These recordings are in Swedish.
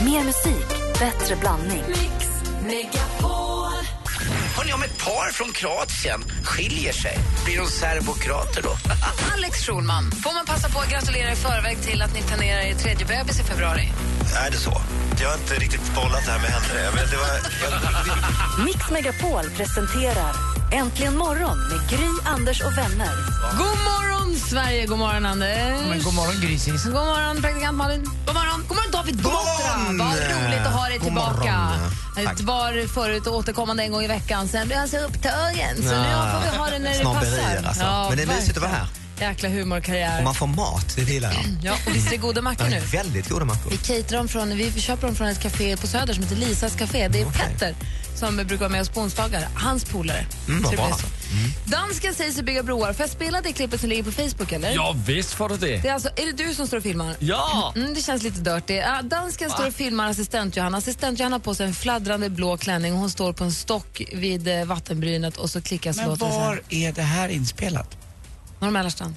Mer musik, bättre blandning. Mix Megapol. Hörrni, om ett par från Kroatien skiljer sig, blir de serbokrater då? Alex Schulman, får man passa på att gratulera i förväg till att ni planerar er tredje bebis i februari? Är det så? Jag har inte riktigt bollat det här med henne. Jag vet, det var... Mix Megapol presenterar Äntligen morgon med Gry, Anders och vänner. God morgon, Sverige! God morgon, Anders! Men god morgon, Grisis. God morgon, praktikant Malin. God morgon, god morgon David Batra. Vad roligt att ha dig tillbaka. Det var förut återkommande en gång i veckan. Sen blev han så upptagen, så nu får vi ha det när det Snobberier passar. alltså. Men det är mysigt att vara här. verkligen. Jäkla humorkarriär. Och man får mat, det gillar jag. Ja, och visst är det goda mackor Mm. nu? Väldigt goda mackor. Vi caterar dem från, vi köper dem från ett café på Söder som heter Lisas café. Det är Petter som brukar vara med oss på onsdagar. Hans polare. Mm, Så vad det bra. blir så. Dansken säger sig bygga broar. Får jag spela det klippet som ligger på Facebook? eller? Ja, visst får du det. Det är, alltså, är det du som står och filmar? Ja! Mm, det känns lite dirty. Ah, dansken står och filmar assistent Johanna. Assistent Johanna har på sig en fladdrande blå klänning och hon står på en stock vid eh, vattenbrynet och så klickas Men låten så här. var är det här inspelat? Norr Mälarstan.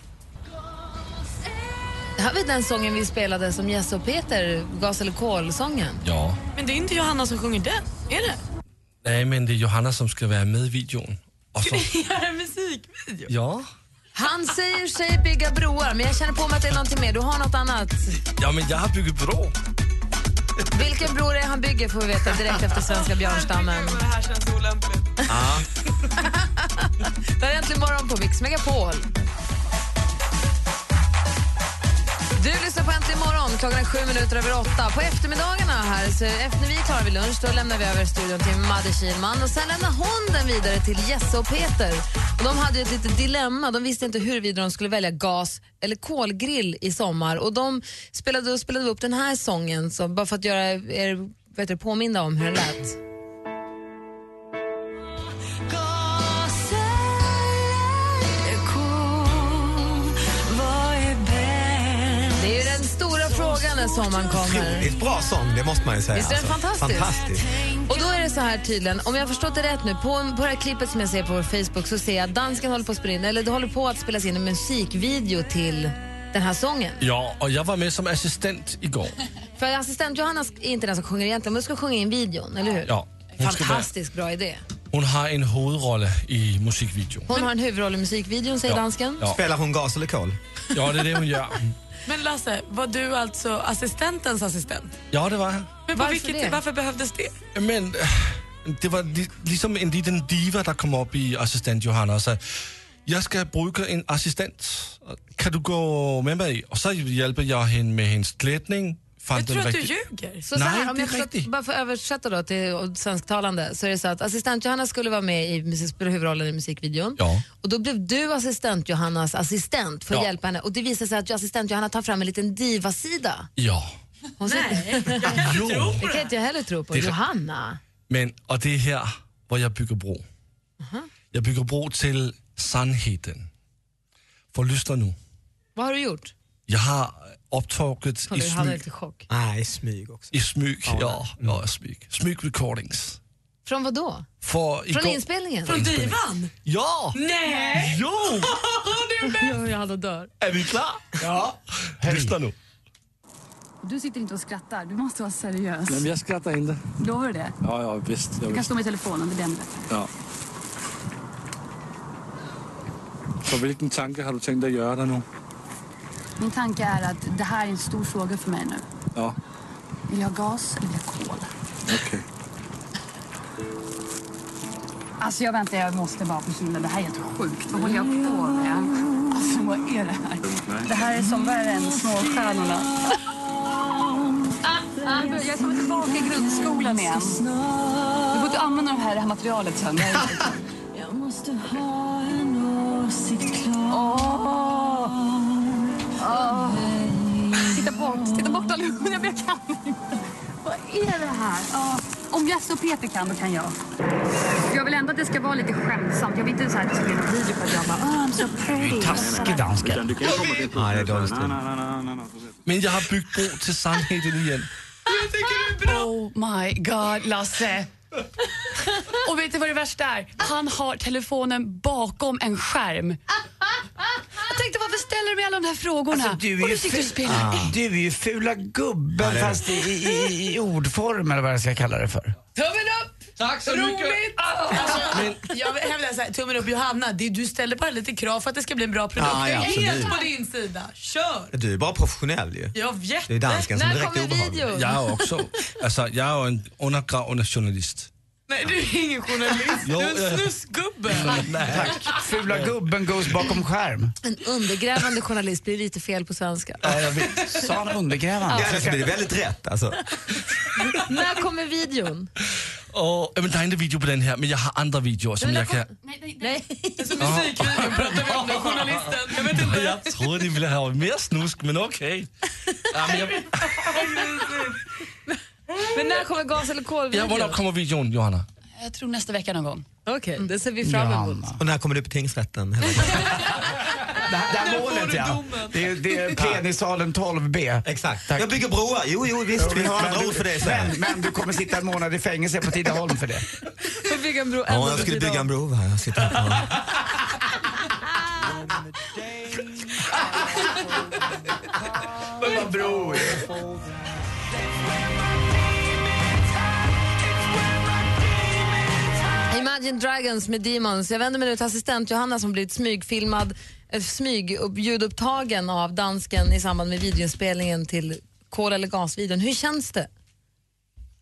Det här var den sången vi spelade som Jesse och Peter, Gas eller kol-sången. Ja. Men det är inte Johanna som sjunger den, är det? Nej, men det är Johanna som ska vara med i videon. Och så, Göra en musikvideo? ja. Han säger sig bygga broar, men jag känner på mig att det är någonting mer. Du har något annat. ja, men jag har byggt bro. Vilken bror det är han bygger får vi veta direkt efter svenska björnstammen. Herregud, vad det här känns olämpligt. Det här är Äntligen morgon på Mix Megapol. Du lyssnar på Äntligen morgon. Klockan är sju minuter över åtta. På eftermiddagarna här, så efter vi är klara vid lunch, då lämnar vi över studion till Madde Kihlman. Och sen lämnar hon den vidare till Jesse och Peter. Och de hade ju ett litet dilemma. De visste inte huruvida de skulle välja gas eller kolgrill i sommar. Och de spelade, då spelade vi upp den här sången, så bara för att göra er vet du, påminna om hur det lät. Det är ju den stora frågan när sommaren kommer. Otroligt bra sång, det måste man ju säga. Alltså, Visst är den fantastisk? Fantastisk. Och då är det så här tydligen, om jag har förstått det rätt nu, på, på det här klippet som jag ser på vår Facebook så ser jag att dansken håller på att, spela in, eller det håller på att spelas in en musikvideo till den här sången. Ja, och jag var med som assistent igår. För assistent Johanna sk- är inte den som sjunger egentligen, men du ska sjunga in videon, eller hur? Ja, hon, ska vara, Fantastiskt bra idé. hon har en huvudroll i musikvideon. Hon har en huvudroll i musikvideon, säger dansken. Ja. Spelar hon gas eller kol? ja, det är det hon gör. Men Lasse, var du alltså assistentens assistent? Ja, det var jag. Men på Varför vilket, det? varför behövdes det? Men eh, det var li liksom en liten diva som kom upp i assistent Johanna och sa jag ska bruka en assistent. Kan du gå med mig? Och så hjälper jag henne med hennes klädning. Fann Jag den tror att du riktigt- ljuger. Så, så Nej, här, om det jag är förstått, riktigt. bara för att översätta då till svensktalande så är det så att assistent Johanna skulle vara med i musik- spela huvudrollen i musikvideon. Ja. Och då blev du assistent Johannas assistent för att Ja. hjälpa henne. Och det visar sig att assistent Johanna tar fram en liten divasida. Ja. Hon Nej. Jo. Det kan inte jag heller tro på. Det är- Johanna? Men, och det är här hvor jag bygger bro. Jag bygger bro till sandheden. För lyssna nu. Vad har du gjort? Jag har upptaget i Hon hade smyg. lite chock. Nej, smyg också. I smyg, ja. ja smyg. smyg recordings. Från vad då? För Från igår- inspelningen? Från divan? Ja! Nej! Jo! Johanna dör. Är vi klara? Ja. Lyssna nu. Du sitter inte och skrattar, du måste vara seriös. Men jag skrattar inte. Lovar du det? Ja, ja visst. Jag Du kan stå med telefonen, det är den Ja. Så vilken tanke har du tänkt att göra där nu? Min tanke är att det här är en stor fråga för mig nu. Ja, Vill jag ha gas eller vill jag kol? okej. Alltså jag väntar, jag måste bara försvinna. Det här är helt sjukt. Vad håller jag på med? Alltså vad är det här? Det här är som värre än Småstjärnorna. Jag är som tillbaka i grundskolan igen. Du får inte använda det här, det här materialet sen. Det här är- Titta bort, titta bort allihopa. Jag kan inte. Vad är det här? Ja, om Jess och Peter kan, då kan jag. Jag vill ändå att det ska vara lite skämtsamt. Jag vill inte så här att det ska bli en video på att jag bara, oh, I'm so pretty. Taskig dansken. Nej, det är dålig stil. Men jag har byggt bro till sandheden igen. Oh my god, Lasse. Och vet du vad det värsta är? Han har telefonen bakom en skärm. Jag tänkte varför ställer du mig alla de här frågorna? Alltså, du är och ju du tycker du ful. spelar Ah. Du är ju fula gubben det är fast i, i, i ordform eller vad jag ska kalla det för. Tummen upp! Tack så mycket! Alltså, jag vill hävda så här, tummen upp Johanna, det, du ställer bara lite krav för att det ska bli en Ah, bra produkt. Ja, ja, jag är helt absolut. på din sida. Kör! Du är bara professionell ju. Jag jätte... Det är dansken som När direkt är kommer obehaglig. videon? Jag är också, alltså jag är en undergravande journalist. Nej, du är ingen journalist. Jo, du är ja. en snusgubbe. Tack. Fula gubben goes bakom skärm. En undergrävande journalist blir lite fel på svenska. Ja, jag vet. Sa han undergrävande? Ja, det blir väldigt rätt alltså. När kommer videon? Och, ja, men det är inte video på den här, men jag har andra videor som Men jag där kan... Nej, nej, nej. Nej. Alltså musikvideon pratar vi om nu, journalisten. Jag vet inte. Jag trodde ni ville ha mer snusk, men okej. Ja, men jag, Men när kommer gas eller jag, kolvideon? när kommer videon, Johanna? Jag tror nästa vecka någon gång. Okej, det ser vi fram emot. Och när kommer du på tingsrätten? Det här, det här får målet du ja. domen. Det är, det är plenissalen 12B. Exakt. Tack. Jag bygger broar. Jo, jo visst. Vi har andra ord för det sen. Men, men du kommer sitta en månad i fängelse på Tidaholm för det. Får bygga en bro Ja, jag skulle bygga en bro här. Jag sitter här på... Men vad bror. Imagine Dragons med Demons. Jag vänder mig nu till assistent Johanna som blivit smygfilmad, eh, smygljudupptagen av dansken i samband med videoinspelningen till Kol eller gasvideon. Hur känns det?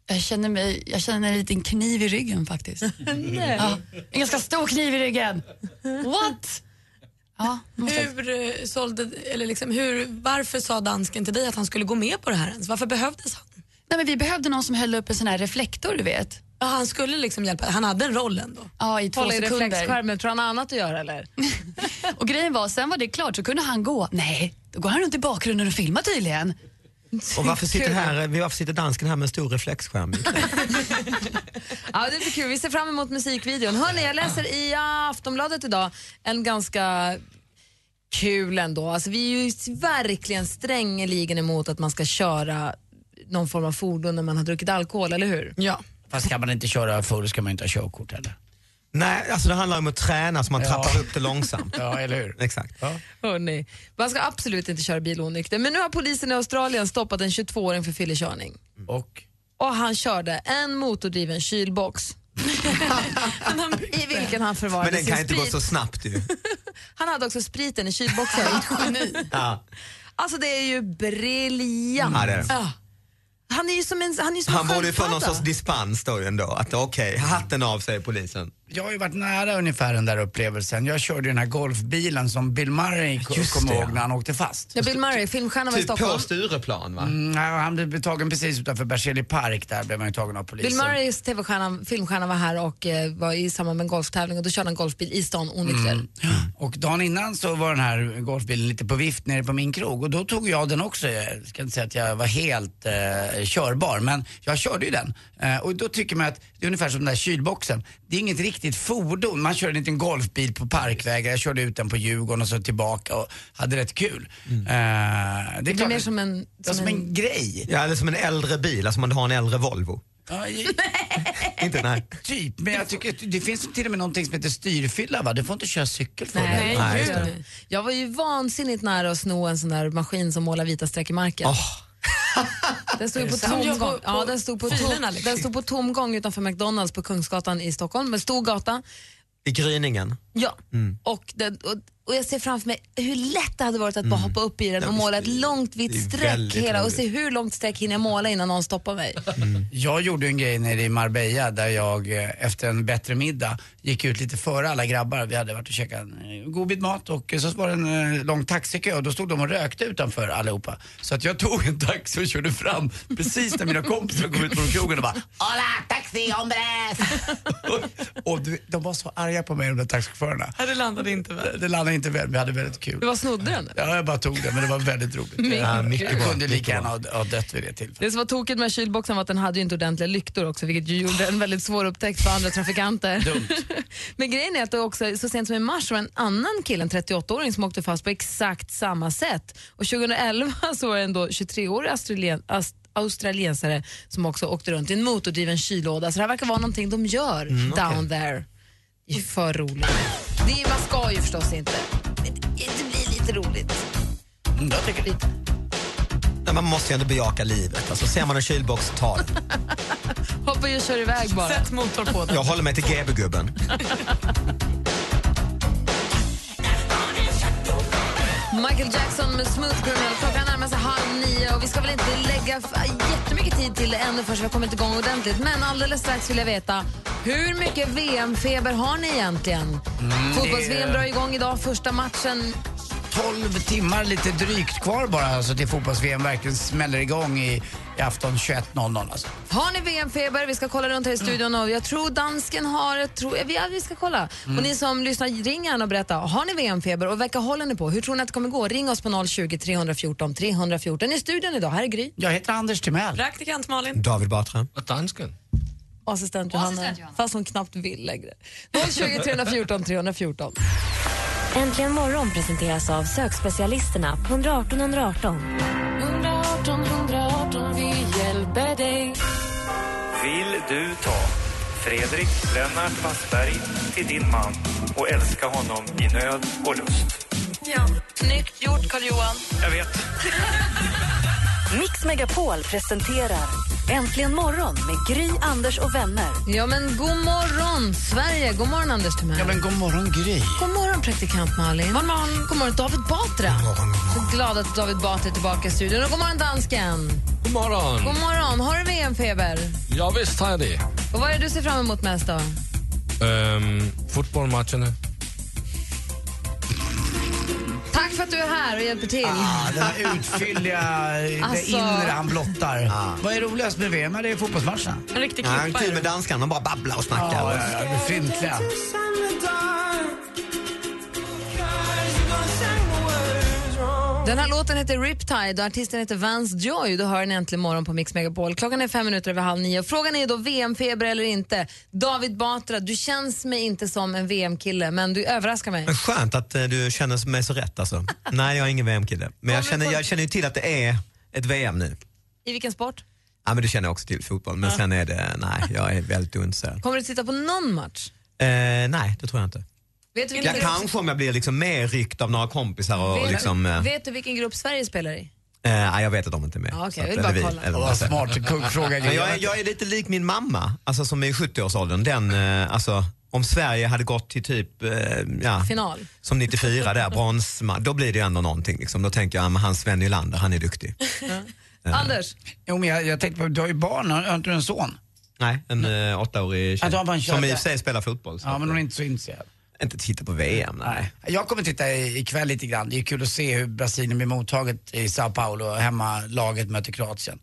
Jag känner, mig, jag känner en liten kniv i ryggen faktiskt. Nej. Ja, en ganska stor kniv i ryggen. What? Ja, måste... Hur eh, sålde, eller liksom, hur, varför sa dansken till dig att han skulle gå med på det här ens? Varför behövdes han? Nej, men vi behövde någon som höll upp en sån här reflektor, du vet. Ja, han skulle liksom hjälpa, han hade en roll ändå. Ja, i två Kolla i sekunder. reflexskärmen, tror han har annat att göra eller? Och grejen var, sen var det klart så kunde han gå. Nej, då går han runt i bakgrunden och filmar tydligen. Och varför sitter, här, varför sitter dansken här med en stor reflexskärm? Ja, det blir kul. Vi ser fram emot musikvideon. Hörni, jag läser i Aftonbladet idag en ganska kul ändå. Alltså, vi är ju verkligen strängeligen emot att man ska köra någon form av fordon när man har druckit alkohol, eller hur? Ja. Fast kan man inte köra full ska man inte ha körkort heller. Nej, alltså det handlar om att träna så man trappar upp det långsamt. Ja, eller hur? Exakt. Hörni, man ska absolut inte köra bil onykter. Men nu har polisen i Australien stoppat en 22-åring för fyllekörning. Och? Och han körde en motordriven kylbox. I vilken han förvarade Men den sin kan inte gå sprit. så snabbt ju. Han hade också spriten i kylboxen. Ja. alltså det är ju briljant. Ja, Mm, det är det. Ja. Han är ju som en han är ju som Han en borde ju få någon sköldpadda. sorts dispens då ju ändå. Att okej, hatten av säger polisen. Jag har ju varit nära ungefär den där upplevelsen. Jag körde ju den här golfbilen som Bill Murray kom Just det, kommer ja. ihåg när han åkte fast. Ja, Bill Murray, filmstjärnan var i Typ på Stockholm. Stureplan va? Mm, nej, han blev tagen precis utanför Berzelii park. Där blev han ju tagen av polisen. liksom. Bill Murrays TV-stjärna, filmstjärna var här och eh, var i samband med en golftävling och då körde han golfbil i stan onykter. Mm. Och dagen innan så var den här golfbilen lite på vift nere på min krog och då tog jag den också. Jag ska inte säga att jag var helt eh, körbar men jag körde ju den. Eh, och då tycker man att det är ungefär som den där kylboxen. Det är inget riktigt fordon. Man kör en liten golfbil på parkvägar. Jag körde ut den på Djurgården och så tillbaka och hade rätt kul. Eh, det är Det blir klart mer att- som en... ja, som en grej. Ja, eller som en äldre bil, alltså man har en äldre Volvo. Ja, i- Inte nej. typ, men jag tycker att det finns till och med någonting som heter styrfylla va? Du får inte köra cykel för det. Nej, Nej, gud. just Jag var ju vansinnigt nära att sno en sån där maskin som målar vita streck i marken. Åh. Den stod ju på sant? tom Som gång. jag på- ja, på den stod på, filerna, tom, liksom. den stod på tom gång utanför McDonalds på Kungsgatan i Stockholm, en stor gata. I gryningen. Ja. Mm. Och, den, och, och jag ser framför mig hur lätt det hade varit att bara hoppa upp i den och visst, måla ett det är- långt Mm. det är vitt streck väldigt hela och roligt. se hur långt streck hinner jag måla innan någon stoppar mig. Jag gjorde en grej nere i Marbella där jag eh, efter en bättre middag gick ut lite före alla grabbar. Vi hade varit och käkat en eh, god bit mat och eh, så var det en eh, lång taxikö och då stod de och rökte utanför allihopa. Så att jag tog en taxi och körde fram precis när mina kompisar kom ut från krogen och bara Hola taxi hombres! och du, vet, de var så arga på mig de där taxichaufförerna. Det landade inte väl. Det landade inte väl, vi hade väldigt kul. Du var snodde den. eller? Ja, jag bara tog det men det var väldigt roligt. Ja, mycket Jag bra. kunde lika gärna ha, ha dött vid det tillfället. Det som var tokigt med kylboxen var att den hade ju inte ordentliga lyktor också vilket ju gjorde en väldigt svår upptäckt för andra trafikanter. Men grejen är att det också, så sent som i mars var en annan kille, en 38-åring som åkte fast på exakt samma sätt. Och 2011 så var det en då 23-årig australien, ast- australiensare som också åkte runt i en motordriven kylåda. Så det här verkar vara någonting de gör down there. Det är ju för roligt. Det är, man ska ju förstås inte. Men det det blir lite lite roligt. Mm, jag tycker det. Nej, man måste ju ändå bejaka livet. Alltså, ser man en kylbox, ta den. Hoppa och kör iväg bara. Sätt motor på den. Jag håller mig till GB-gubben. Michael Jackson med Smooth Criminal. Klockan närmar sig halv nio och vi ska väl inte lägga f- jättemycket tid till det ännu förrän vi har kommit igång ordentligt. Men alldeles strax vill jag veta, hur mycket VM-feber har ni egentligen? Fotbolls-VM drar igång idag, första matchen. 12 timmar lite drygt kvar bara alltså, till fotbolls-VM verkligen smäller igång i, i afton 21.00. Alltså. Har ni VM-feber? Vi ska kolla runt här i studion och jag tror dansken har, jag tror, ja, vi, ja, vi ska kolla. Och ni som lyssnar, ring gärna och berätta. Har ni VM-feber och vilka håller ni på? Hur tror ni att det kommer gå? Ring oss på 020 314 314. I studion idag, här är Gry. Jag heter Anders Timell. Praktikant Malin. David Batra. Och dansken. Och assistent Johanna, assistent Johanna. fast hon knappt vill längre. 020 314 314. Äntligen morgon presenteras av sökspecialisterna på 118 118. Vill du ta Fredrik Lennart Wassberg till din man och älska honom i nöd och lust? Ja. Snyggt gjort, Carl-Johan. Jag vet. Mix Megapol presenterar Äntligen morgon med Gry, Anders och vänner. Ja, men god morgon, Sverige! God morgon, Anders Timell. Ja men god morgon Gry. God morgon, praktikant Malin. God morgon, god morgon David Batra. Så glad att David Batra är tillbaka i studion. Och god morgon, dansken. God morgon. God morgon. Har du VM-feber? Ja, visst har jag det. Och vad är det du ser fram emot mest? då? Øhm, fotbollmatcherna. Tack för att du är här och hjälper till. Ah, den här utfylliga, eh, det Alltså. inre han blottar. Vad är roligast med VM? Ja, Det är fotbollsmatcherna. En riktig Ja, han är klippa. kul med danskan, de bara babblar och snackar. Ja, ja, ja, de är fryntliga. Den här låten heter Riptide och artisten heter Vance Joy. Du hör den äntligen morgon på Mix Megapol. Klockan är fem minuter över halv nio. Frågan är då VM-feber eller inte. David Batra, du känns mig inte som en VM-kille, men du överraskar mig. Men skönt att eh, du känner mig så rätt alltså. Nej, jag är ingen VM-kille. Men jag känner, jag känner ju till att det är ett VM nu. I vilken sport? Ja, men det känner jag också till, fotboll. Men sen är det, nej, jag är väldigt ointresserad. Kommer du titta på någon match? Eh, nej, det tror jag inte. Vet du vilken Jag kanske om jag blir liksom mer ryckt av några kompisar och, och Vet- liksom... Eh, Vet du vilken grupp Sverige spelar i? eh, nej, jag vet att de inte är med. Ja, okej, Så att- jag vill eller bara vi, kolla. eller vad man Vad säger. smart kuggfråga Men Gry. jag, är, jag är lite lik min mamma, alltså som är i 70-årsåldern. Den, eh, alltså, om Sverige hade gått till typ, eh, ja, Final. som 94 där, brons, då blir det ju ändå någonting. Liksom. Då tänker jag, ja, men han Sven Nylander, han är duktig. Anders, Jo, men jag, jag tänkte på, du har ju barn, har har inte du en son? Nej, en eh, åttaårig Ja, då har man tjej kört som i det. och för sig spelar fotboll. Så Ja, men hon är inte... inte så intresserad. inte titta på VM, nej. Jag kommer titta i- ikväll lite grann. Det är kul att se hur Brasilien blir mottaget i Sao Paulo och hemmalaget möter Kroatien.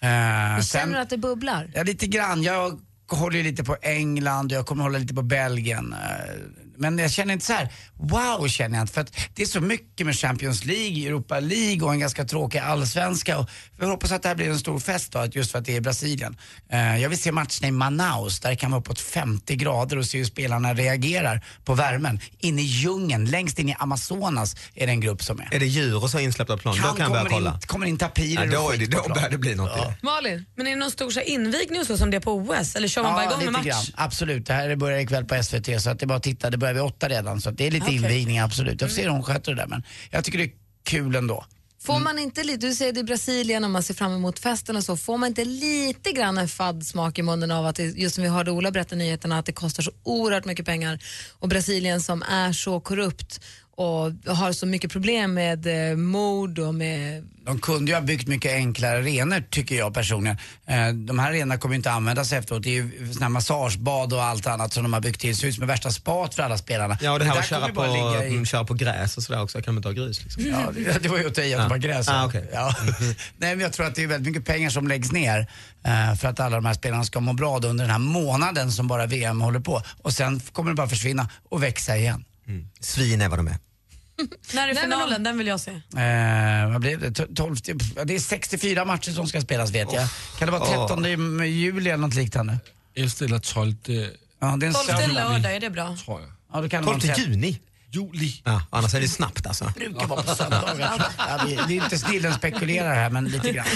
Eh, känner sen- du att det bubblar? Ja, lite grann. Jag håller ju lite på England och jag kommer hålla lite på Belgien. Eh, Men jag känner inte så här, wow känner jag inte. För att det är så mycket med Champions League, Europa League och en ganska tråkig allsvenska. Och jag hoppas att det här blir en stor fest då, att just för att det är Brasilien. Eh, Jag vill se matcherna i Manaus, där det kan vara uppåt 50 grader och se hur spelarna reagerar på värmen. Inne i djungeln, längst in i Amazonas är det en grupp som är. Är det djur och så insläppta på plan, då kan jag börja kommer, kolla. in, kommer in tapirer Ja, då och är det, skit på då plan. börjar det bli något i Ja. det. Malin? Men är det någon stor så här invigning och så som det är på OS? Eller kör man bara igång med lite match? grann. Absolut. Det här börjar ikväll på SVT så att det är bara att titta. Det börjar vid åtta redan så att det är lite invigning absolut. Jag får se hur hon sköter det där men jag tycker det är kul ändå. Får man inte lite, du säger det i Brasilien och man ser fram emot festen och så, får man inte lite grann en fadd smak i munnen av att, det, just som vi hörde Ola berätta i nyheterna, att det kostar så oerhört mycket pengar och Brasilien som är så korrupt och har så mycket problem med eh, mord och med... De kunde ju ha byggt mycket enklare arenor tycker jag personligen. Eh, De här arenorna kommer ju inte användas efteråt. Det är ju såna här massagebad och allt annat som de har byggt till. Det ser ut som värsta spat för alla spelarna. Ja, och det här där att köra kommer ju på, bara ligga i- Mm. mm, köra på gräs och sådär också, jag kan inte ha grus liksom. Ja, det, det var ju åt dig att det var gräs. Ah, okej. ja. Nej, men jag tror att det är väldigt mycket pengar som läggs ner eh, för att alla de här spelarna ska må bra då under den här månaden som bara VM håller på. Och sen kommer det bara försvinna och växa igen. Mm. Svin är vad de är. När är men finalen? Den vill jag se. Eh, vad blev det? To- 12, ja, det är 64 matcher som ska spelas vet jag. Kan det vara 13 juli eller något liknande? 11 eller 12 Ja, det är en 12 söndag. lördag, är det bra? tror jag. Ja, då kan det 12 vara en tretton. juni. Juli. Ja, annars är det snabbt alltså. Det brukar vara på söndagar. Ja, det, det är inte snillen spekulerar här men lite grann.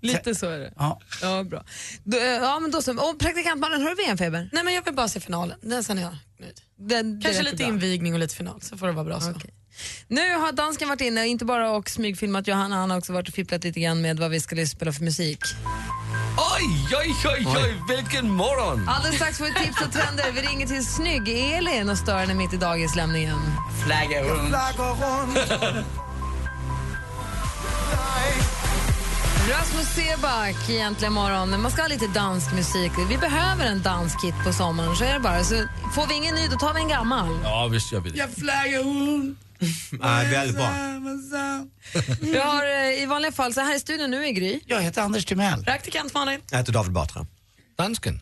Lite så är det. Ja. Ja, bra. Då, eh, ja, men då så. Och praktikantmannen, har du VM-feber? Nej men jag vill bara se finalen. Den sen är jag nöjd. Den- det Kanske räcker lite bra. invigning och lite final, så får det vara bra så. Okej. Nu har dansken varit inne, inte bara och smygfilmat Johanna, han har också varit och fipplat lite grann med vad vi skulle spela för musik. Oj, oj, oj, oj, vilken morgon! Alldeles strax får vi tips och trender. Vi ringer till snygg-Elin och stör henne mitt i dagislämningen. Flagga runt. Rasmus Seback i Äntligen morgon. Man ska ha lite dansk musik. Vi behöver en dansk hit på sommaren, så är det bara. Så får vi ingen ny, då tar vi en gammal. Ja, visst gör vi det. Jag flaggar runt. Nej, väldigt bra. Vi har eh, i vanliga fall, så här i studion nu i Gry. Jag heter Anders Timell. Praktikant Malin. Jag heter David Batra. Dansken.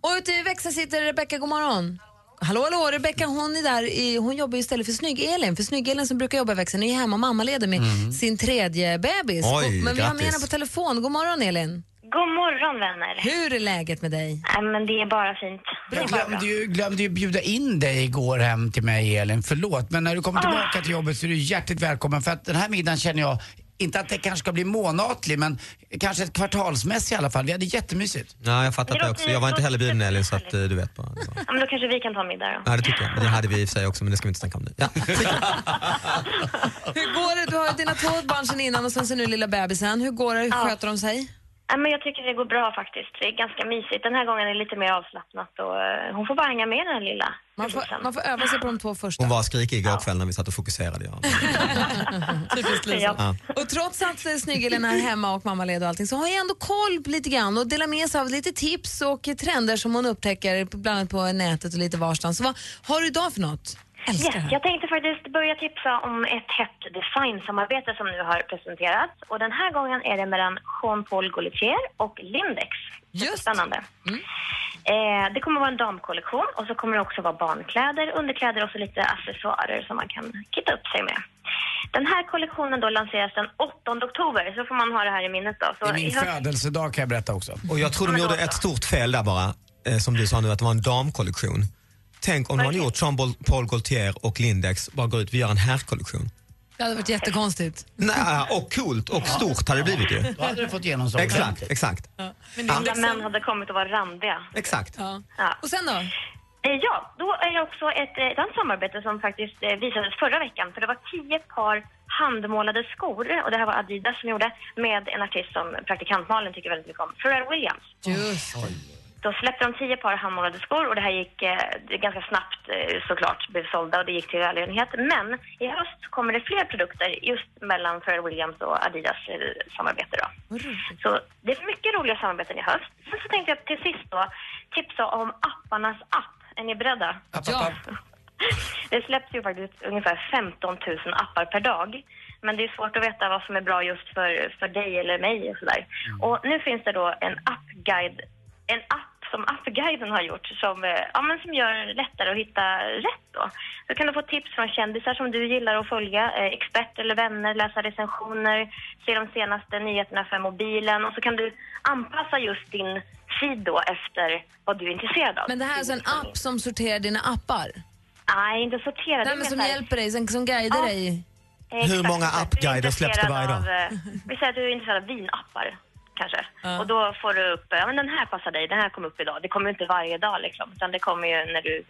Och ute i växeln sitter Rebecka, god morgon. Hallå, hallå, Rebecka hon är där, i, hon jobbar ju istället för Snygg-Elin, för Snygg-Elin som brukar jobba i växeln är ju hemma och mammaleder med sin tredje bebis. Mm. Oj, Och- Men vi har med grattis. henne på telefon. God morgon Elin. God morgon vänner. Hur är läget med dig? Nej, men det är bara fint. Det Jag är bara bra. glömde ju, glömde ju bjuda in dig igår hem till mig Elin, förlåt. Men när du Ah. kommer tillbaka till jobbet så är du hjärtligt välkommen för att den här middagen känner jag, inte att det kanske ska bli månatlig men kanske ett kvartalsmässigt i alla fall. Vi hade jättemysigt. Ja, jag fattar det också. Jag var inte heller bjuden Elin så att eh, du vet bara. Det var- Ja, men då kanske vi kan ta middag då. Ja, det tycker jag. Det hade vi i och för sig också men det ska vi inte snacka om nu. Ja. Hur går det? Du har ju dina två barn sen innan och sen så nu lilla bebisen. Hur går det? Hur sköter de sig? Nej, men jag tycker det går bra faktiskt. Det är ganska mysigt. Den här gången är det lite mer avslappnat och eh, hon får bara hänga med den här lilla. Man får, man får öva sig på de två första. Hon var skrikig igår kväll när vi satt och fokuserade. Ja. Typiskt Lisa. Ja. Och trots att eh, Snygg-Elin är hemma och mammaled och allting så har hon ju ändå koll på lite grann och delar med sig av lite tips och eh, trender som hon upptäcker på- bland annat på nätet och lite varstans. Så vad har du idag för något? Älskar Yes, jag tänkte faktiskt börja tipsa om ett hett designsamarbete som nu har presenterats. Och den här gången är det mellan Jean-Paul Gaultier och Lindex. Just. Spännande. Eh, det kommer vara en damkollektion och så kommer det också vara barnkläder, underkläder och så lite accessoarer som man kan kitta upp sig med. Den här kollektionen då lanseras den 8 oktober, så får man ha det här i minnet då. Så Det är min i höst- födelsedag kan jag berätta också. Och jag tror de gjorde ett stort fel där bara, eh, som du sa nu, att det var en damkollektion. Tänk om de hade gjort Jean-Paul Gaultier och Lindex, bara gå ut, vi gör en herrkollektion. Det hade varit jättekonstigt. Nej, och coolt och stort hade det blivit ju. Då hade du fått genomslag. Exakt, exakt. liksom- Alla män hade kommit att vara randiga. Exakt. Ja. Ja. Och sen då? Eh, Ja, då är det också ett eh, ett annat samarbete som faktiskt eh, visades förra veckan. För det var tio par handmålade skor, och det här var Adidas som gjorde, med en artist som praktikantmalen tycker väldigt mycket om, Pharrell Williams. Just. Då släppte de tio par handmålade skor och det här gick eh, det ganska snabbt eh, såklart, blev sålda och det gick till välgörenhet. Men i höst kommer det fler produkter just mellan Pharrell Williams och Adidas eh, samarbete då. Så det är mycket roliga samarbeten i höst. Sen så tänkte jag till sist då tipsa om apparnas app. Är ni beredda? Ja. Det släpps ju faktiskt ungefär 15 000 appar per dag. Men det är svårt att veta vad som är bra just för, för dig eller mig och sådär. Mm. Och nu finns det då en appguide, en app som appguiden har gjort som, eh, ja, men som gör det lättare att hitta rätt då. Då kan du få tips från kändisar som du gillar att följa, eh, experter eller vänner, läsa recensioner, se de senaste nyheterna för mobilen och så kan du anpassa just din feed då efter vad du är intresserad av. Men det här är alltså en app som sorterar dina appar? Nej, inte sortera. det Nej, är mer men som så här- hjälper dig, som, som guidar Ja. dig? Hur Exakt, många exakt. appguider Du är släpps det varje dag? intresserad av, eh, Vi säger att du är intresserad av vinappar kanske. Och då får du upp, eh, ja men den här passar dig, den här kom upp idag. Det kommer ju inte varje dag liksom, utan det kommer ju när, du,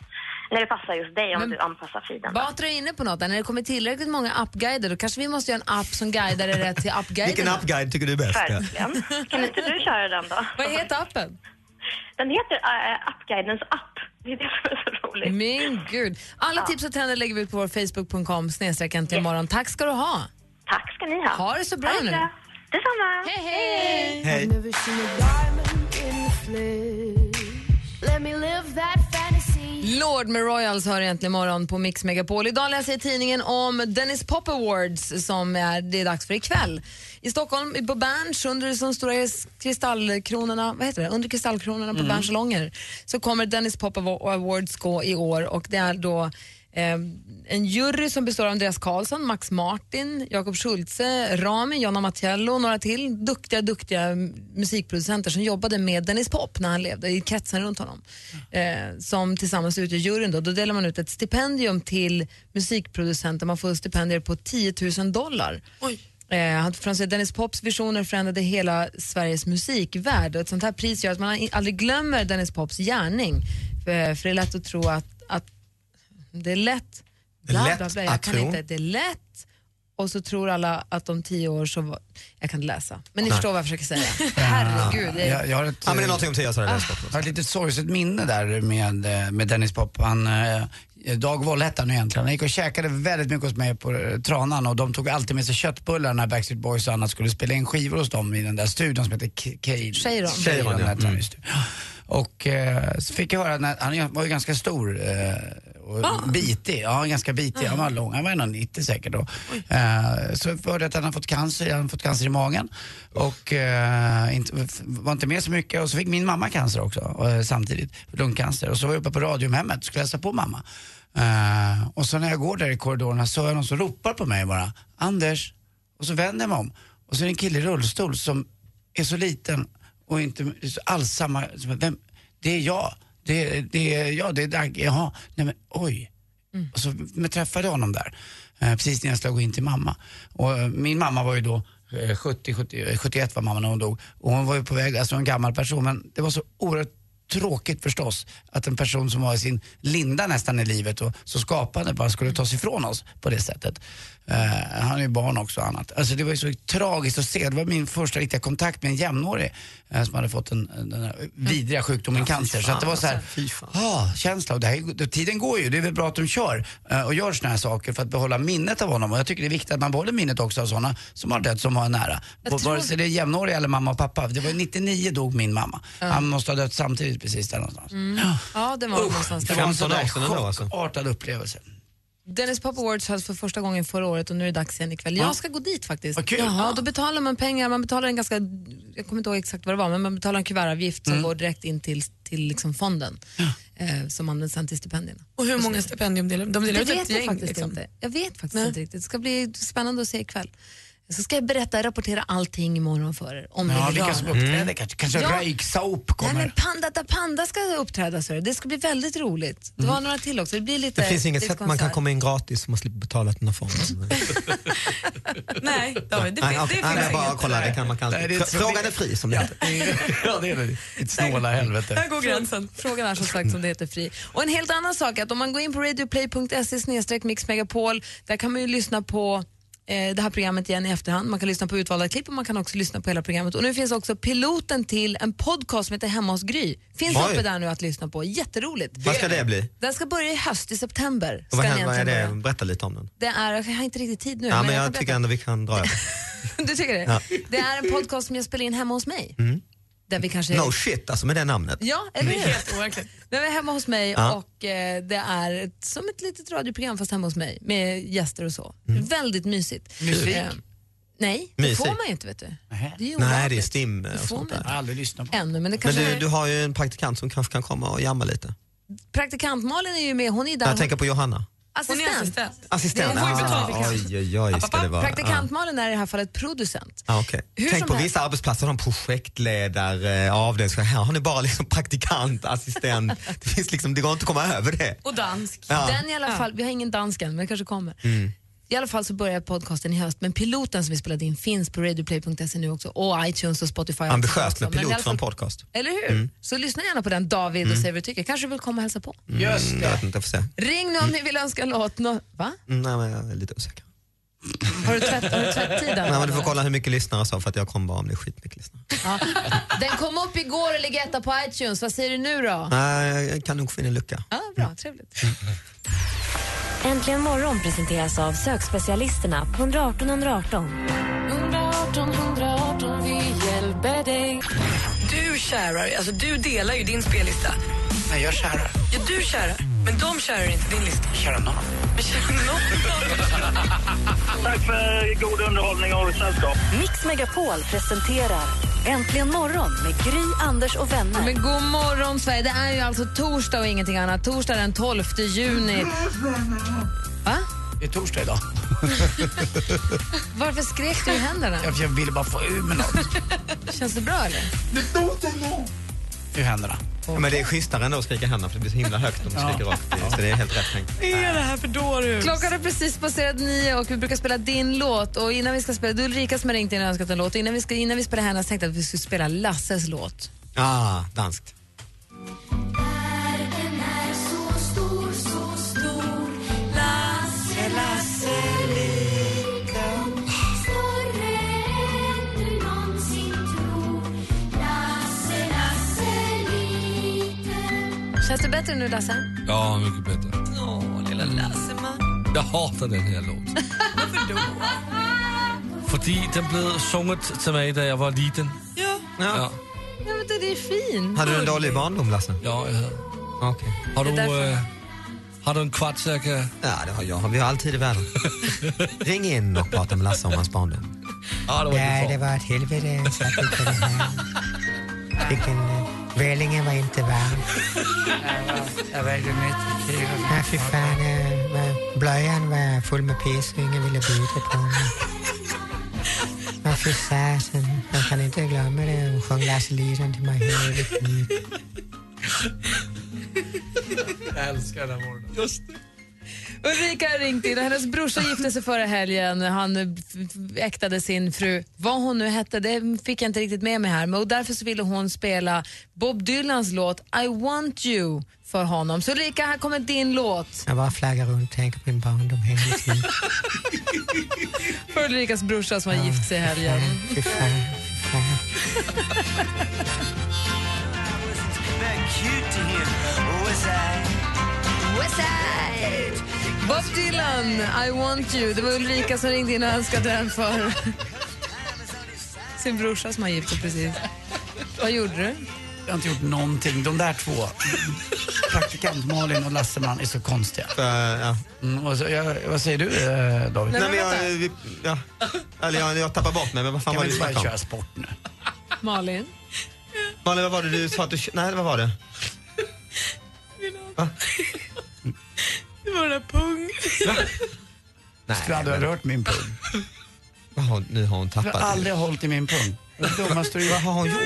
när det passar just dig om Men- du anpassar feeden. Batra är inne på något där. När det kommer tillräckligt många appguider då kanske vi måste göra en app som guidar dig rätt till Vilken appguiderna. appguide tycker du är bäst? Ja. Verkligen. Kan inte du köra den då? Vad heter appen? Den heter uh, Appguidens app. Det är det som är så roligt. Min gud. Alla tips och trender lägger vi ut på vår facebook.com snedstreck äntligen morgon. Tack ska du ha. Tack ska ni ha. Ha det så bra Ha det nu. bra. Detsamma. Hej, hej! Hej. Lord med Royals hör egentligen imorgon på Mix Megapol. Idag läser jag i tidningen om Dennis Pop Awards som är, det är dags för ikväll. I Stockholm, på Berns, under de stora kristallkronorna, vad heter det? Under kristallkronorna på Berns salonger så kommer Dennis Pop Avo- Awards gå i år och det är då eh, en jury som består av Andreas Karlsson, Max Martin, Jakob Schultze, Rami, Jonna Mattiello och några till duktiga, duktiga musikproducenter som jobbade med Dennis Pop när han levde, i kretsen runt honom. Eh, som tillsammans utgör juryn då. Då delar man ut ett stipendium till musikproducenter. Man får stipendier på 10 000 dollar. Eh, han- för han säger, Dennis Pops visioner förändrade hela Sveriges musikvärld och ett sånt här pris gör att man aldrig glömmer Dennis Pops gärning. För, för det är lätt att tro att, att det är lätt bla, Lätt bla, bla. Jag att kan tro. inte, det är lätt. Och så tror alla att om tio år så... var- Jag kan inte läsa. Men ni Nej. förstår vad jag försöker säga. Herregud. Jag, Jag, jag har ett, eh, Ah. Ja, men det är någonting om Tia så är det läst Jag har ett litet sorgset minne där med, eh, med Dennis Pop. Han, eh, Dag Woll hette han ju egentligen. Han gick och käkade väldigt mycket hos mig på eh, Tranan och de tog alltid med sig köttbullar när Backstreet Boys och annat skulle spela in skivor hos dem i den där studion som heter K- Cade. Cheiron. Cheiron, Cheiron, ja. hette han, Mm. just det. Och eh, så fick jag höra, när, han var ju ganska stor eh, och bitig. Ja, ganska bitig. Han var lång, han var 1,90 säkert då. Eh, så hörde jag att han har fått cancer, han har fått cancer i magen. Och eh, inte, f- var inte med så mycket. Och så fick min mamma cancer också eh, samtidigt, lungcancer. Och så var jag uppe på Radiumhemmet och skulle hälsa på mamma. Eh, och så när jag går där i korridorerna så hör jag någon som ropar på mig bara, Anders. Och så vänder jag mig om. Och så är det en kille i rullstol som är så liten och inte alls samma, som- vem, det är jag, det, är- det är jag, det är Dagge, jaha, nej men oj. Och så men, träffade jag honom där, eh, precis när jag skulle gå in till mamma. Och eh, min mamma var ju då eh, 70, 70, eh, 71 var mamma när hon dog. Och hon var ju på väg, alltså en gammal person, men det var så oerhört tråkigt förstås att en person som var i sin linda nästan i livet och så skapande bara skulle tas ifrån oss på det sättet. Eh, han är ju barn också och annat. Alltså det var ju så tragiskt att se. Det var min första riktiga kontakt med en jämnårig eh, som hade fått en, den här vidriga sjukdomen cancer. Så att det var så här, alltså. ah, känsla. Och det här, är ju- det- tiden går ju. Det är väl bra att de kör eh, och gör såna här saker för att behålla minnet av honom. Och jag tycker det är viktigt att man behåller minnet också av sådana som har dött som har en nära. Jag tror- Vare sig det är jämnåriga eller mamma och pappa. Det var ju 99 dog min mamma. Ja. Han måste ha dött samtidigt precis där någonstans. Mm. Ja, det var någonstans där. Det var en sån där 15 år sedan ändå, alltså. chockartad upplevelse. Dennis Pop Awards hölls för första gången förra året och nu är det dags igen ikväll. Ja. Jag ska gå dit faktiskt. Vad kul. Jaha, då betalar man pengar, man betalar en ganska, jag kommer inte ihåg exakt vad det var, men man betalar en kuvertavgift som Mm. går direkt in till, till liksom fonden eh, som används sen till stipendierna. Och hur många stipendium delar de? De det delar ut ett vet jag gäng. faktiskt liksom. inte. Jag vet faktiskt inte riktigt. Det ska bli spännande att se ikväll. Så ska jag berätta, rapportera allting imorgon för er. Om Ja, det vilka som uppträder kanske. Kanske Ja. Rake-Soap kommer. Nej, men Panda da Panda ska uppträda, så det ska bli väldigt roligt. Det var några till också. Det blir lite Det finns inget sätt man kan diskonsert. komma in gratis om man slipper betala till någon form. Nej, David, det, Nej, fin- okej. det Nej, finns jag bara inget. kolla, det kan man kanske. Nej, det är ett- Frågan är fri som det heter. ja, det är det. Ditt snåla helvete. går gränsen. Frågan är som sagt som det heter fri. Och en helt annan sak är att om man går in på radioplay.se snedstreck mixmegapol, där kan man ju lyssna på eh, det här programmet igen i efterhand. Man kan lyssna på utvalda klipp och man kan också lyssna på hela programmet. Och nu finns också piloten till en podcast som heter Hemma hos Gry. Finns Oj. uppe där nu att lyssna på. Jätteroligt. Vad ska det bli? Den ska börja i höst, i september. Och Ska vad, den händer, vad är egentligen det? börja. Berätta lite om den. Det är, jag har inte riktigt tid nu. Ja, men jag kan tycker ändå vi kan dra över. berätta. Du tycker det? Ja. Det är en podcast som jag spelar in hemma hos mig. Mm. Där vi kanske... No shit, alltså med det namnet. Ja, eller hur? Helt overkligt. Det är hemma hos mig Ja. och eh, det är ett, som ett litet radioprogram fast hemma hos mig med gäster och så. Mm. Väldigt mysigt. Eh, Musik? nej, det Mysigt. får man ju inte vet du. Det är Nej, det är ju olagligt STIM Det och får sånt man där. inte. aldrig lyssnat Ännu, men det Men kanske du, du har ju en praktikant som kanske kan komma och jamma lite. Praktikant Malin är ju med, hon är ju där. Jag tänker på Johanna. assistent. Hon är assistent. Assistent. Ah, oj, oj, oj ska det vara. Praktikant Malin är i det här fallet producent. Ja, okej. Hur Tänk som på helst. vissa arbetsplatser har de projektledare, eh, avdelningschef. Här har ni bara liksom praktikant, assistent. Det, finns liksom, det går inte att komma över det. Och dansk. Ja. Den i alla fall, vi har ingen dansk än, men det kanske kommer. Mm. I alla fall så börjar podcasten i höst, men piloten som vi spelade in finns på radioplay.se nu också och iTunes och Spotify. Ambitiöst också. med Men i alla pilot för en fall- podcast. Eller hur? Mm. Så lyssna gärna på den David och säg vad du tycker. Kanske vill komma och hälsa på. Mm, Jag vet inte, jag får se. Ring nu om ni vill önska en låt. Nå- Va? Mm, Nej, men jag är lite osäker. Har du tvätt- har du tvättid? Nej, men du får Anna? kolla hur mycket lyssnare sa för att jag kom bara om det är skitmycket lyssnare. Ja. Den kom upp igår och ligger etta på iTunes. Vad säger du nu då? Nej, jag kan nog få in en lucka. Ja, bra, trevligt. Äntligen morgon presenteras av sökspecialisterna på 118 118. 118 118, vi hjälper dig. Du kärar, alltså du delar ju din spellista. Nej, jag kärar. Ja, du kärar. Men de kärar inte din lista. Kärar någon. Men kärar någon. Tack för god underhållning och sällskap. Mix Megapol presenterar Äntligen morgon med Gry, Anders och vänner. Men god morgon Sverige, det är ju alltså torsdag och ingenting annat. Torsdag den 12 juni. Va? Det är torsdag idag. Varför skrek du i händerna? Jag, jag ville bara få ur mig något Känns det bra eller? ur händerna. Ja, men det är schysstare ändå att skrika händerna för det blir så himla högt om man skriker rakt i. Så det är helt rätt tänkt. är det här för dårhus? Klockan är precis passerat nio och vi brukar spela din låt. Och innan vi ska spela, det är Ulrika som har ringt in och önskat en låt. Och Innan vi, ska, innan vi spelar hennes tänkte jag att vi skulle spela Lasses låt. Ah, danskt. Världen är så stor, så stor. Lasse Känns det bättre nu, Lasse? Ja, mycket bättre. Åh, lilla Lasseman. Jag hatar den här låten. Varför då? Fordi den blev sunget till mig när jag var liten. Ja. Ah. Ja. Nej, men det är fin. Hade du en dålig barndom, Lasse? Ja, jag hade. Okej. Har, Det är du, därför- eh, har du en kvart så jag kan... Ja, det har jag. Vi har alltid i världen. Ring in och prata med Lasse om hans barndom. Ja, det var Nej, det var ett helvete. Så att det här. Vilken... Välingen øh, var inte varm. Jag väljer mitt krig. Ja, fy fan. eh, vad- Blöjan var full med piss och ingen ville byta på mig. Ja, fy fasen. Man kan inte glömma det. Hon sjöng Lasse Lison till mig hela mitt liv. Jag älskar den här morgonen. Just det. Ulrika har ringt in och hennes brorsa gifte sig förra helgen. Han eh, f- f- äktade sin fru, vad hon nu hette, det fick jag inte riktigt med mig här. Men och därför så ville hon spela Bob Dylans låt I want you för honom. Så Ulrika, här kommer din låt Jag bara flaggar runt och tänker på min barndom hela tiden. för Ulrikas brorsa som har gift sig i helgen. Fy fan. fy fan. Westside! Bob Dylan, I want you. Det var Ulrika som ringde in och önskade den för sin brorsa som har gift sig precis. Vad gjorde du? Jag har inte gjort någonting. De där två, praktikant Malin och Lasseman, är så konstiga. Mm, och så, jag, vad säger du, eh, David? Nej, men jag, vi, ja. Eller jag, jag tappar bort mig, men vad fan Kan var vi det vi inte bara snackade köra om? sport nu? Malin? Malin, vad var det du sa att du... Nej, vad var det? Det var den där pung. Nej, Skulle aldrig ha rört min pung. Vad har, nu har hon Jag tappat har aldrig hållit i min pung. Det dummaste du Vad har hon gjort?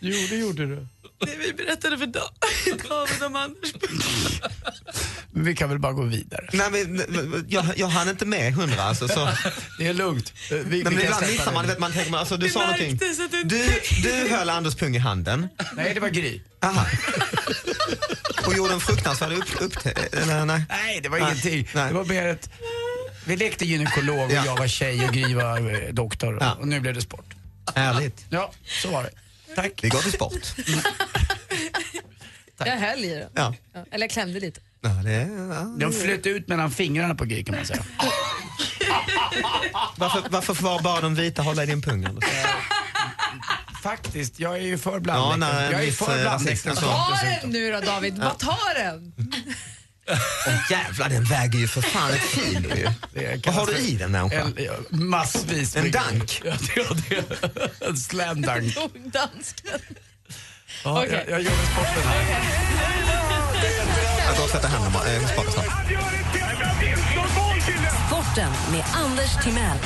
Jo, det gjorde du. Det vi berättade för Da- David om Anders pung. Men vi kan väl bara gå vidare. Nej, men, men, jag, jag hann inte med hundra alltså. Så. Det är lugnt. Eh, Vi, vi Nej, men kan ibland släppa missar det. man, du vet, man tänker, man, alltså, du Det sa någonting. märktes att du- Du, du höll Anders pung i handen Nej, det var Gry. Aha. och gjorde en fruktansvärd upp... upp eller, nej. Nej, det var Nej, ingenting. nej. Det var mer ett... Vi lekte gynekolog och Ja. jag var tjej och Gry var eh, doktor. Och nu blev det sport. Ärligt. Ja, så var det. Tack. Vi går till sport. Jag höll i den. Ja. Ja, Eller jag klämde lite. Ja, det, ja. De flöt ut mellan fingrarna på Gry kan man säga. Ah. Varför, varför var bara de vita hålla i din pung? Anders? Faktiskt, jag är ju för Ja, blandäktenskap. nej, jag är ju viss, för Alltså, eh, rasism. blandäktenskap Ta dessutom. den nu då David, Ja. bara ta den! Åh jävlar, den väger ju för fan ett kilo ju. Vad har du i den människa? En- ja, Massvis. En med- dank? Ja, det, det. En slam dunk. Dansken. Ja, jag, jag gjorde sporten här. Jag går och sätter handen bara. Eh, spara snabbt. Sporten med Anders Timell.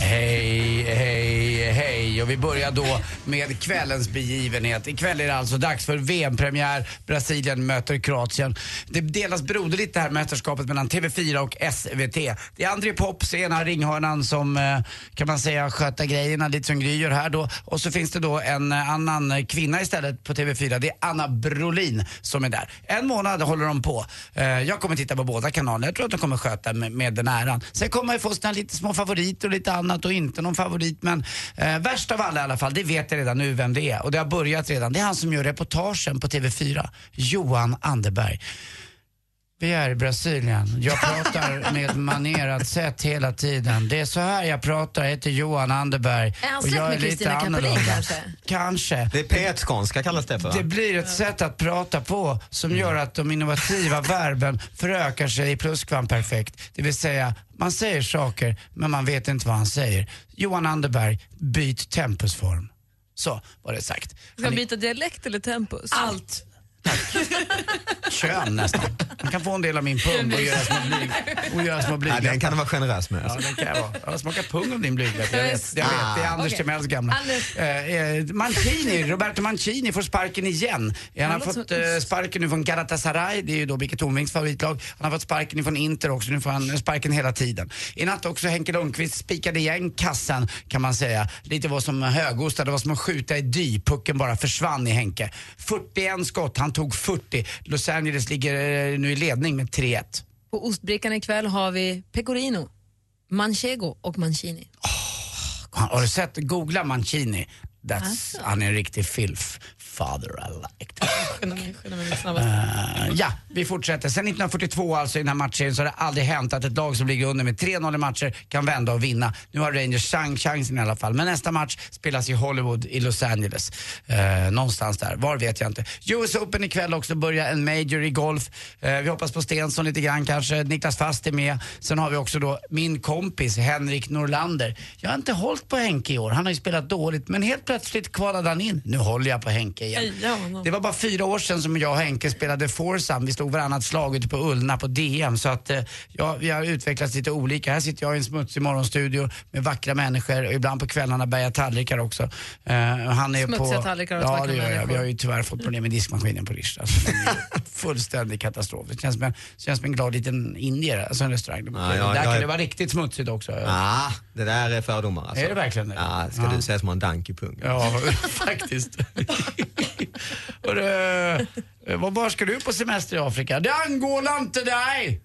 Hej, hej, hej. Och vi börjar då med kvällens begivenhet. Ikväll är det alltså dags för VM-premiär. Brasilien möter Kroatien. Det delas broderligt det här mästerskapet mellan TV4 och SVT. Det är André Pops, ena ringhörnan, som eh, kan man säga sköta grejerna lite som Gry gör här då. Och så finns det då en eh, annan eh, kvinna istället på TV4. Det är Anna Brolin som är där. En månad håller de på. Eh, Jag kommer titta på båda kanalerna. Jag tror att de kommer sköta med, med den äran. Sen kommer man ju få sina lite små favoriter och lite annat och inte någon favorit. Men eh, värst av alla i alla fall, det vet jag redan nu vem det är. Och det har börjat redan. Det är han som gör reportagen på TV4. Johan Anderberg. Vi är i Brasilien. Jag pratar med ett manerat sätt hela tiden. Det är så här jag pratar. Jag heter Johan Anderberg. Är han och släkt jag med Kristina Kapelin annorlunda. kanske? Kanske. Det är P1-skånska kallas det för va? Det blir ett sätt att prata på som gör att de innovativa verben förökar sig i pluskvamperfekt. Det vill säga, man säger saker men man vet inte vad han säger. Johan Anderberg, byt tempusform. Så var det sagt. Ska jag byta dialekt eller tempus? Allt. Kön nästan. Man kan få en del av min pung och göra små blyg. Och göra små Nej, den blygdläppar. kan du vara generös med. Ja, Alltså. det kan jag vara. Jag smakar pung av din blygdläpp. Jag vet, jag vet. Det är Ah. Anders Okej. Timells gamla. Anders. Eh, eh, Mancini, Roberto Mancini får sparken igen. Han har Det låter fått som- eh, sparken nu från Galatasaray, det är ju då Birgit Tornvings favoritlag. Han har fått sparken från Inter också, nu får han eh, sparken hela tiden. I natt också Henke Lundqvist spikade igen kassan kan man säga. Lite var som högosta, det var som att skjuta i dy, pucken bara försvann i Henke. 41 skott, han tog 40. Los Angeles ligger eh, nu i ledning med 3-1. På ostbrickan ikväll har vi pecorino, manchego och mancini. Har du sett? Googla Mancini. That's, Han är en riktig filf. Father I liked. Skynda mig, skynda mig lite snabbast. Eh, ja, vi fortsätter. Sen 1942 alltså i den här matchen så har det aldrig hänt att ett lag som ligger under med 3-0 i matcher kan vända och vinna. Nu har Rangers chans, chansen i alla fall. Men nästa match spelas i Hollywood i Los Angeles. Eh, någonstans där, var vet jag inte. US Open ikväll också börjar en major i golf. Eh, vi hoppas på Stensson lite grann kanske. Niklas Fast är med. Sen har vi också då min kompis Henrik Norlander. Jag har inte hållit på Henke i år. Han har ju spelat dåligt. Men helt plötsligt kvalade han in. Nu håller jag på Henke igen. Heja honom. Det var bara fyra år sedan som jag och Henke spelade foursam. Vi slog varannat slag ute på Ullna på DM. Så att eh, ja, vi har utvecklats lite olika. Här sitter jag i en smutsig morgonstudio med vackra människor och ibland på kvällarna bär jag tallrikar också. Eh, han är Smutsiga på... tallrikar och Ja, vackra det gör jag. människor. Vi har ju tyvärr fått problem med diskmaskinen på Rish. Alltså, den är ju fullständig katastrof. Det känns som en, känns som en glad liten indier, alltså en restaurang. Ja, ja, där jag kan är- det vara riktigt smutsigt också. Ah, det där är fördomar alltså. Är det verkligen det? Ja, ska Ja. du säga som har en dank i pungen? Ja, faktiskt. Hörru, eh, var, var ska du på semester i Afrika? Det angår inte dig!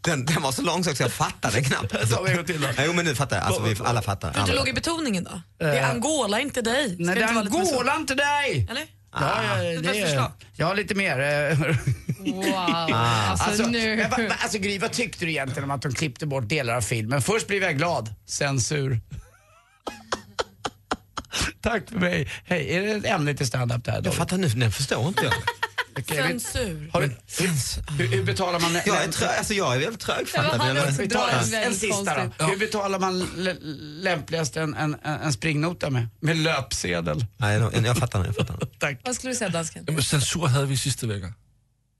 Den, den var så lång så att jag fattade knappt. Ta mig en gång till då. Jo men nu fattar jag. Alltså, vi, alla fattar. Du Alla. låg i betoningen då? Det är Angola, inte dig. Ska Nej, det inte vara lite mer så? angår inte dig! Eller? Äh. Ja, ja, Det är ett det bäst förslag. är, jag har lite mer. eh, Wow. Alltså, Alltså, nu. men vad- vad- alltså Gry, vad tyckte du egentligen om att de klippte bort delar av filmen? Först blev jag glad, sen sur. Tack för mig. Hej, är det ett ämne till stand-up det här? Jag fattar nu, den förstår inte jag. Okej, vi- Censur. har du, hur, hur betalar man... Jag är, trö, alltså, jag är väldigt trögfattad. Det var han Jag- också. Vi tar Det var en, en väldigt sista då. konstigt. Hur betalar man l- lämpligast en, en, en springnota med? Med löpsedel. Nej, jag, jag fattar nu. Jag fattar nu. Tack. Vad skulle du säga, dansken? Jamen, censur hade vi sidste vecka.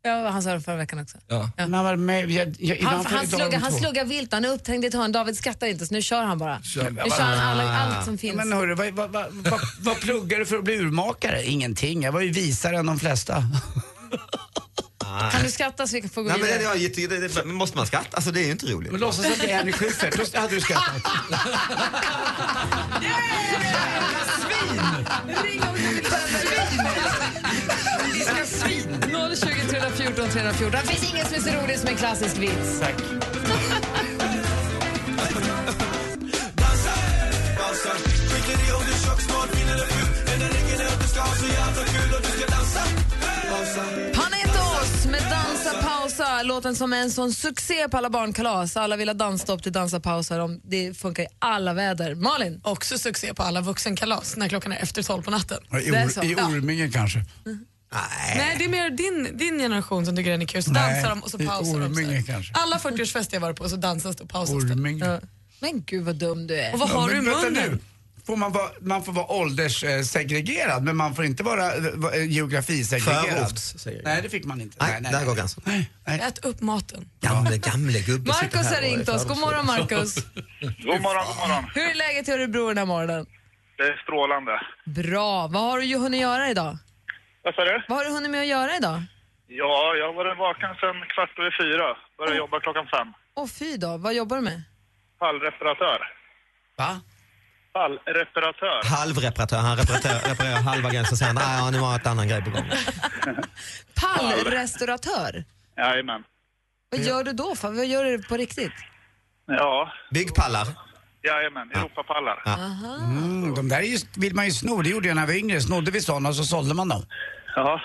Ja, han sa det förra veckan också. Ja. Men han var med, jag, jag, ibland Han, får jag han, inte ha sluggar, de han två. sluggar vilt, han är uppträngd i ett hörn. David skrattar inte, så nu kör han bara. Nu kör han alla, allt som finns. Men hörru, vad, vad, vad, vad, vad pluggar du för att bli urmakare? Ingenting. Jag var ju visare än de flesta. Kan du skratta så vi kan få gå Nej, men det, vidare? jag, det, det, det, måste man skratta? Alltså det är ju inte roligt. Men låtsas att det är Henrik Schyffert, då hade du skrattat. Ring om du vill Diska svin! 020 314 314. Det finns ingen som är så rolig som en klassisk vits. Tack. Panetos med Dansa pausa, låten som är en sån succé på alla barnkalas. Alla vill ha dansstopp till Dansa pausa. De- Det funkar i alla väder. Malin? Också succé på alla vuxenkalas när klockan är efter tolv på natten. I, Det är så. Mm. or, i Orminge kanske. Nej, det är mer din, din generation som tycker den är kul. Så Nej, dansar de och så det är pausar de. Orminge så här. kanske. Alla 40-årsfester jag varit på så dansas det och pausas det. Orminge. Men gud vad dum du är. Och vad har du i Men vänta nu. munnen? Får man, vara, man får vara ålderssegregerad men man får inte vara eh, va- eh, geografisegregerad. Förortssegregerad. Nej, det fick man inte. Nej, där går gränsen. Nej, nej. Ät upp maten. Gamle, gamle gubbe sitter Marcus här har och är ringt oss. God fördomsfull. morgon Marcus. God morgon, god morgon. Hur är läget i Örebro den här morgonen? Det är strålande. Bra. Vad har du ju hunnit göra idag? Vad sa du? Vad har du hunnit med att göra idag? Ja, jag har varit vaken sedan kvart över fyra. Började jobba klockan fem. Åh fy då, vad jobbar du med? Pallreparatör. Va? Pallreparatör. Halvreparatör, han reparerar, reparerar halva grejen så säger han nej, ja, nu har jag ett annan grej på gång. Pallrestauratör? Jajamän. Vad gör du då? För? Vad gör du på riktigt? Ja, Byggpallar. jajamän. Europapallar. Mm, de där är ju, vill man ju sno, det gjorde jag när jag var yngre. Snodde vi sådana och så sålde man dem. Ja.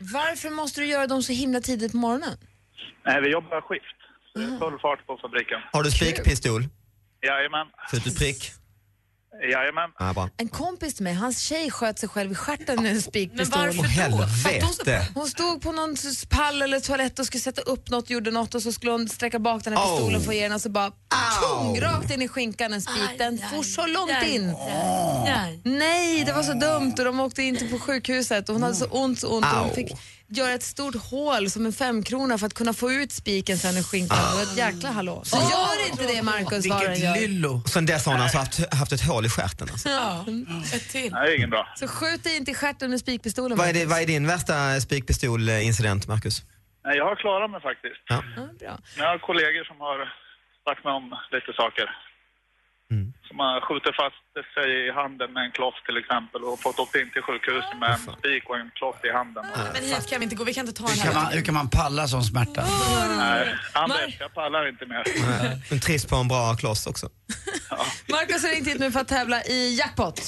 Varför måste du göra dem så himla tidigt på morgonen? Nej, vi jobbar skift. Så det är full fart på fabriken. Har du spikpistol? Jajamän. Skjutit prick? Jajamän. Ja, bra. En kompis till mig, hans tjej sköt sig själv i stjärten med en spikpistol. Men varför Åh helvete! Hon stod på någon pall eller toalett och skulle sätta upp något, gjorde något och så skulle hon sträcka bak den här Au. pistolen för den och så bara tjong, rakt in i skinkan en spik. Den for så långt in. Nej, det var så dumt och de åkte in till på sjukhuset och hon hade så ont så ont och hon Au. fick göra ett stort hål som en femkrona för att kunna få ut spiken sen ur skinkan. Det var ett jäkla hallå. Så gör inte det Marcus vad den Vilket gör. lyllo. Och Sen dess har han alltså haft, haft ett hål i stjärten. Alltså. Ja, ett till. Nej, det är ingen bra. Så skjut dig inte i stjärten med spikpistolen. Vad är, det, Marcus. vad är din värsta spikpistolincident, Marcus? Nej, jag har klarat mig faktiskt. Ja. Ja, bra. Men jag har kollegor som har sagt mig om lite saker. Som har skjutit fast sig i handen med en kloss till exempel och fått åka in till sjukhuset med en spik och en kloss i handen. Men hit kan vi inte gå, vi kan inte ta den Hur kan man, här. hur kan man palla sån smärta? Nej, Anders, jag pallar inte mer. Men trist på en bra kloss också. Marcus har ringt hit nu för att tävla i jackpot.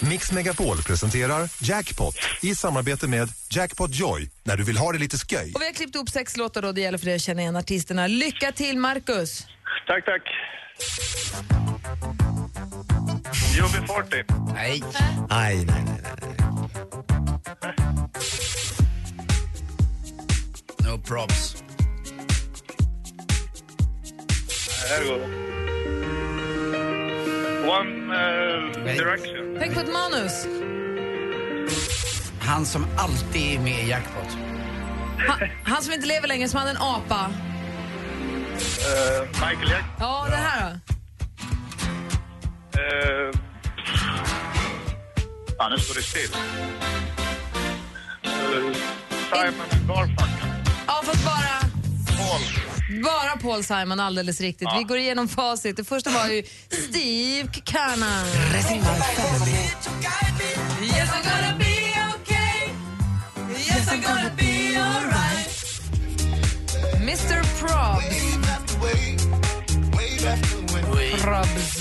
Mix Megapol presenterar Jackpot i samarbete med Jackpot Joy när du vill ha det lite skoj. Och vi har klippt ihop sex låtar då det gäller för dig att känna igen artisterna. Lycka till Marcus! Tack, tack. UB40. Nej. Nej, nej, nej. No props. Ergo. One eh, direction. Tänk på ett manus. Han som alltid är med i jackpot. Han, han som inte lever längre, som hade en Eh, apa. Michael Jack. Ja, det här då? Uh, Ah, fan, nu står det still. Eh, Simon Garfunkel. Ja, fast bara... Paul. Bara Paul Simon, alldeles riktigt. Vi går igenom facit. Det första var ju Steve Buchanan. Yes, I'm gonna be okay Yes, I'm gonna be alright Mr Probs. Probs.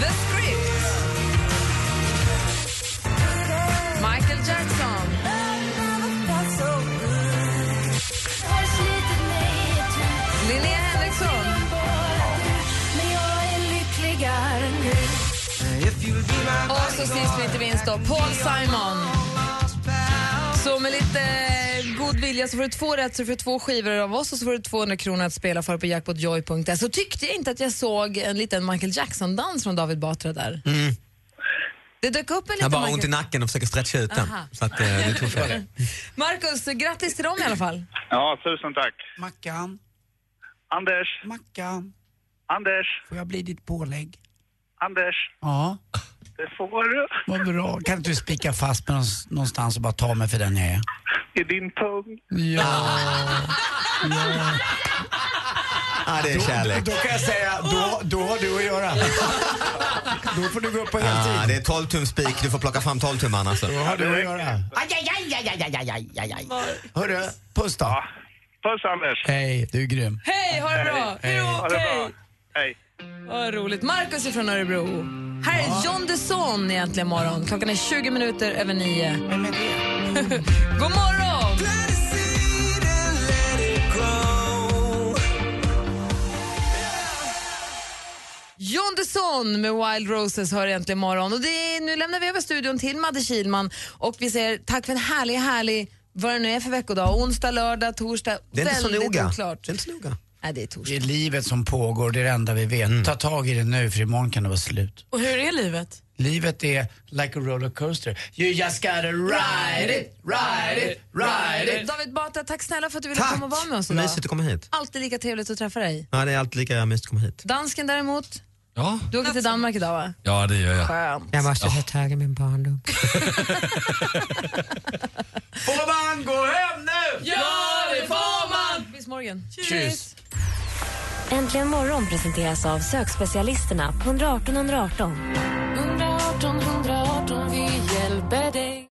The Script. Michael Jackson. Linnea Henriksson. Och så sist men inte minst då, Paul Simon. Så med lite eh, god vilja så får du två rätt, så får du två skivor av oss och så får du 200 kronor att spela för på jackpotjoy.se. Så tyckte jag inte att jag såg en liten Michael Jackson-dans från David Batra där. Mm. Det dök upp en Jag har liten bara ont i Michael... nacken och försöker stretcha ut den. Aha. Så att, eh, det tog fel. Marcus, grattis till dem i alla fall. Ja, tusen tack. Mackan. Anders. Mackan. Anders. Får jag bli ditt pålägg? Anders. Ja. Det får du. Vad bra. Kan inte du spika fast mig någonstans- någonstans och bara ta mig för den jag är? I din pung. Ja, det är kärlek. Då, då kan jag säga, då, då har du att göra. då får du gå upp på heltid. Ja, det är typ- 12 tum spik. Du får plocka fram 12 tummarna. Alltså. Då har du att göra. Aj, aj, aj, aj, aj, aj, aj, aj, aj. Hörru, puss då. Ah, Puss, Anders. Hej, du är grym. Hej, ha det bra! Hej. Ha det bra. Hej. Vad roligt. Marcus är från Örebro. Här är John Desson i Äntligen morgon. Klockan är 20 minuter över nio. God morgon! John Desson med Wild Roses hör äntligen morgon. Och det är, nu lämnar vi över studion till Madde Kilman och vi säger tack för en härlig, härlig, vad det nu är för veckodag. Onsdag, lördag, torsdag. Det är inte så Väldigt noga. Oklart. Det är inte så noga. Nej, det är torsdag. Det är livet som pågår, det är det enda vi vet. Ta tag i det nu för imorgon kan det vara slut. Och hur är livet? Livet är like a roller coaster. You just gotta ride it, ride it, ride it. David Batra, tack snälla för att du ville Tack. komma och vara med oss idag. Mysigt att komma hit. Alltid lika trevligt att träffa dig. Ja, det är alltid lika mysigt att komma hit. Dansken däremot, Ja, du åker till Danmark idag va? ja det gör jag. Skönt. Jag måste ta tag i min barndom. Får man gå hem nu? Miss Morgan. Tjus. Äntligen morgon presenteras av sökspecialisterna på 118 118. 118 118, vi hjälper dig.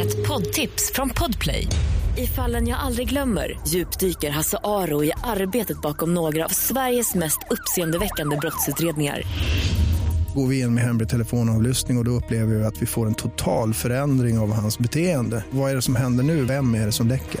Ett poddtips från Podplay. I fallen jag aldrig glömmer djupdyker Hasse Aro i arbetet bakom några av Sveriges mest uppseendeväckande brottsutredningar. Går vi in med hemlig telefonavlyssning och, och då upplever vi att vi får en total förändring av hans beteende. Vad är det som händer nu? Vem är det som läcker?